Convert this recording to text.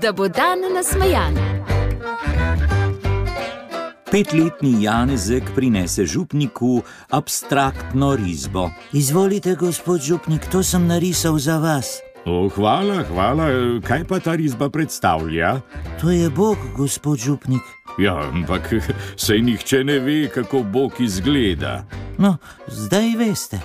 da bo dan nasmejan. Petletni Janezek prinese župniku abstraktno risbo. Izvolite, gospod župnik, to sem narisal za vas. O, Oh, hvala, hvala. Kaj pa ta risba predstavlja? To je Bog, gospod župnik. Ja, ampak sej nihče ne ve, kako Bog izgleda. No, zdaj veste.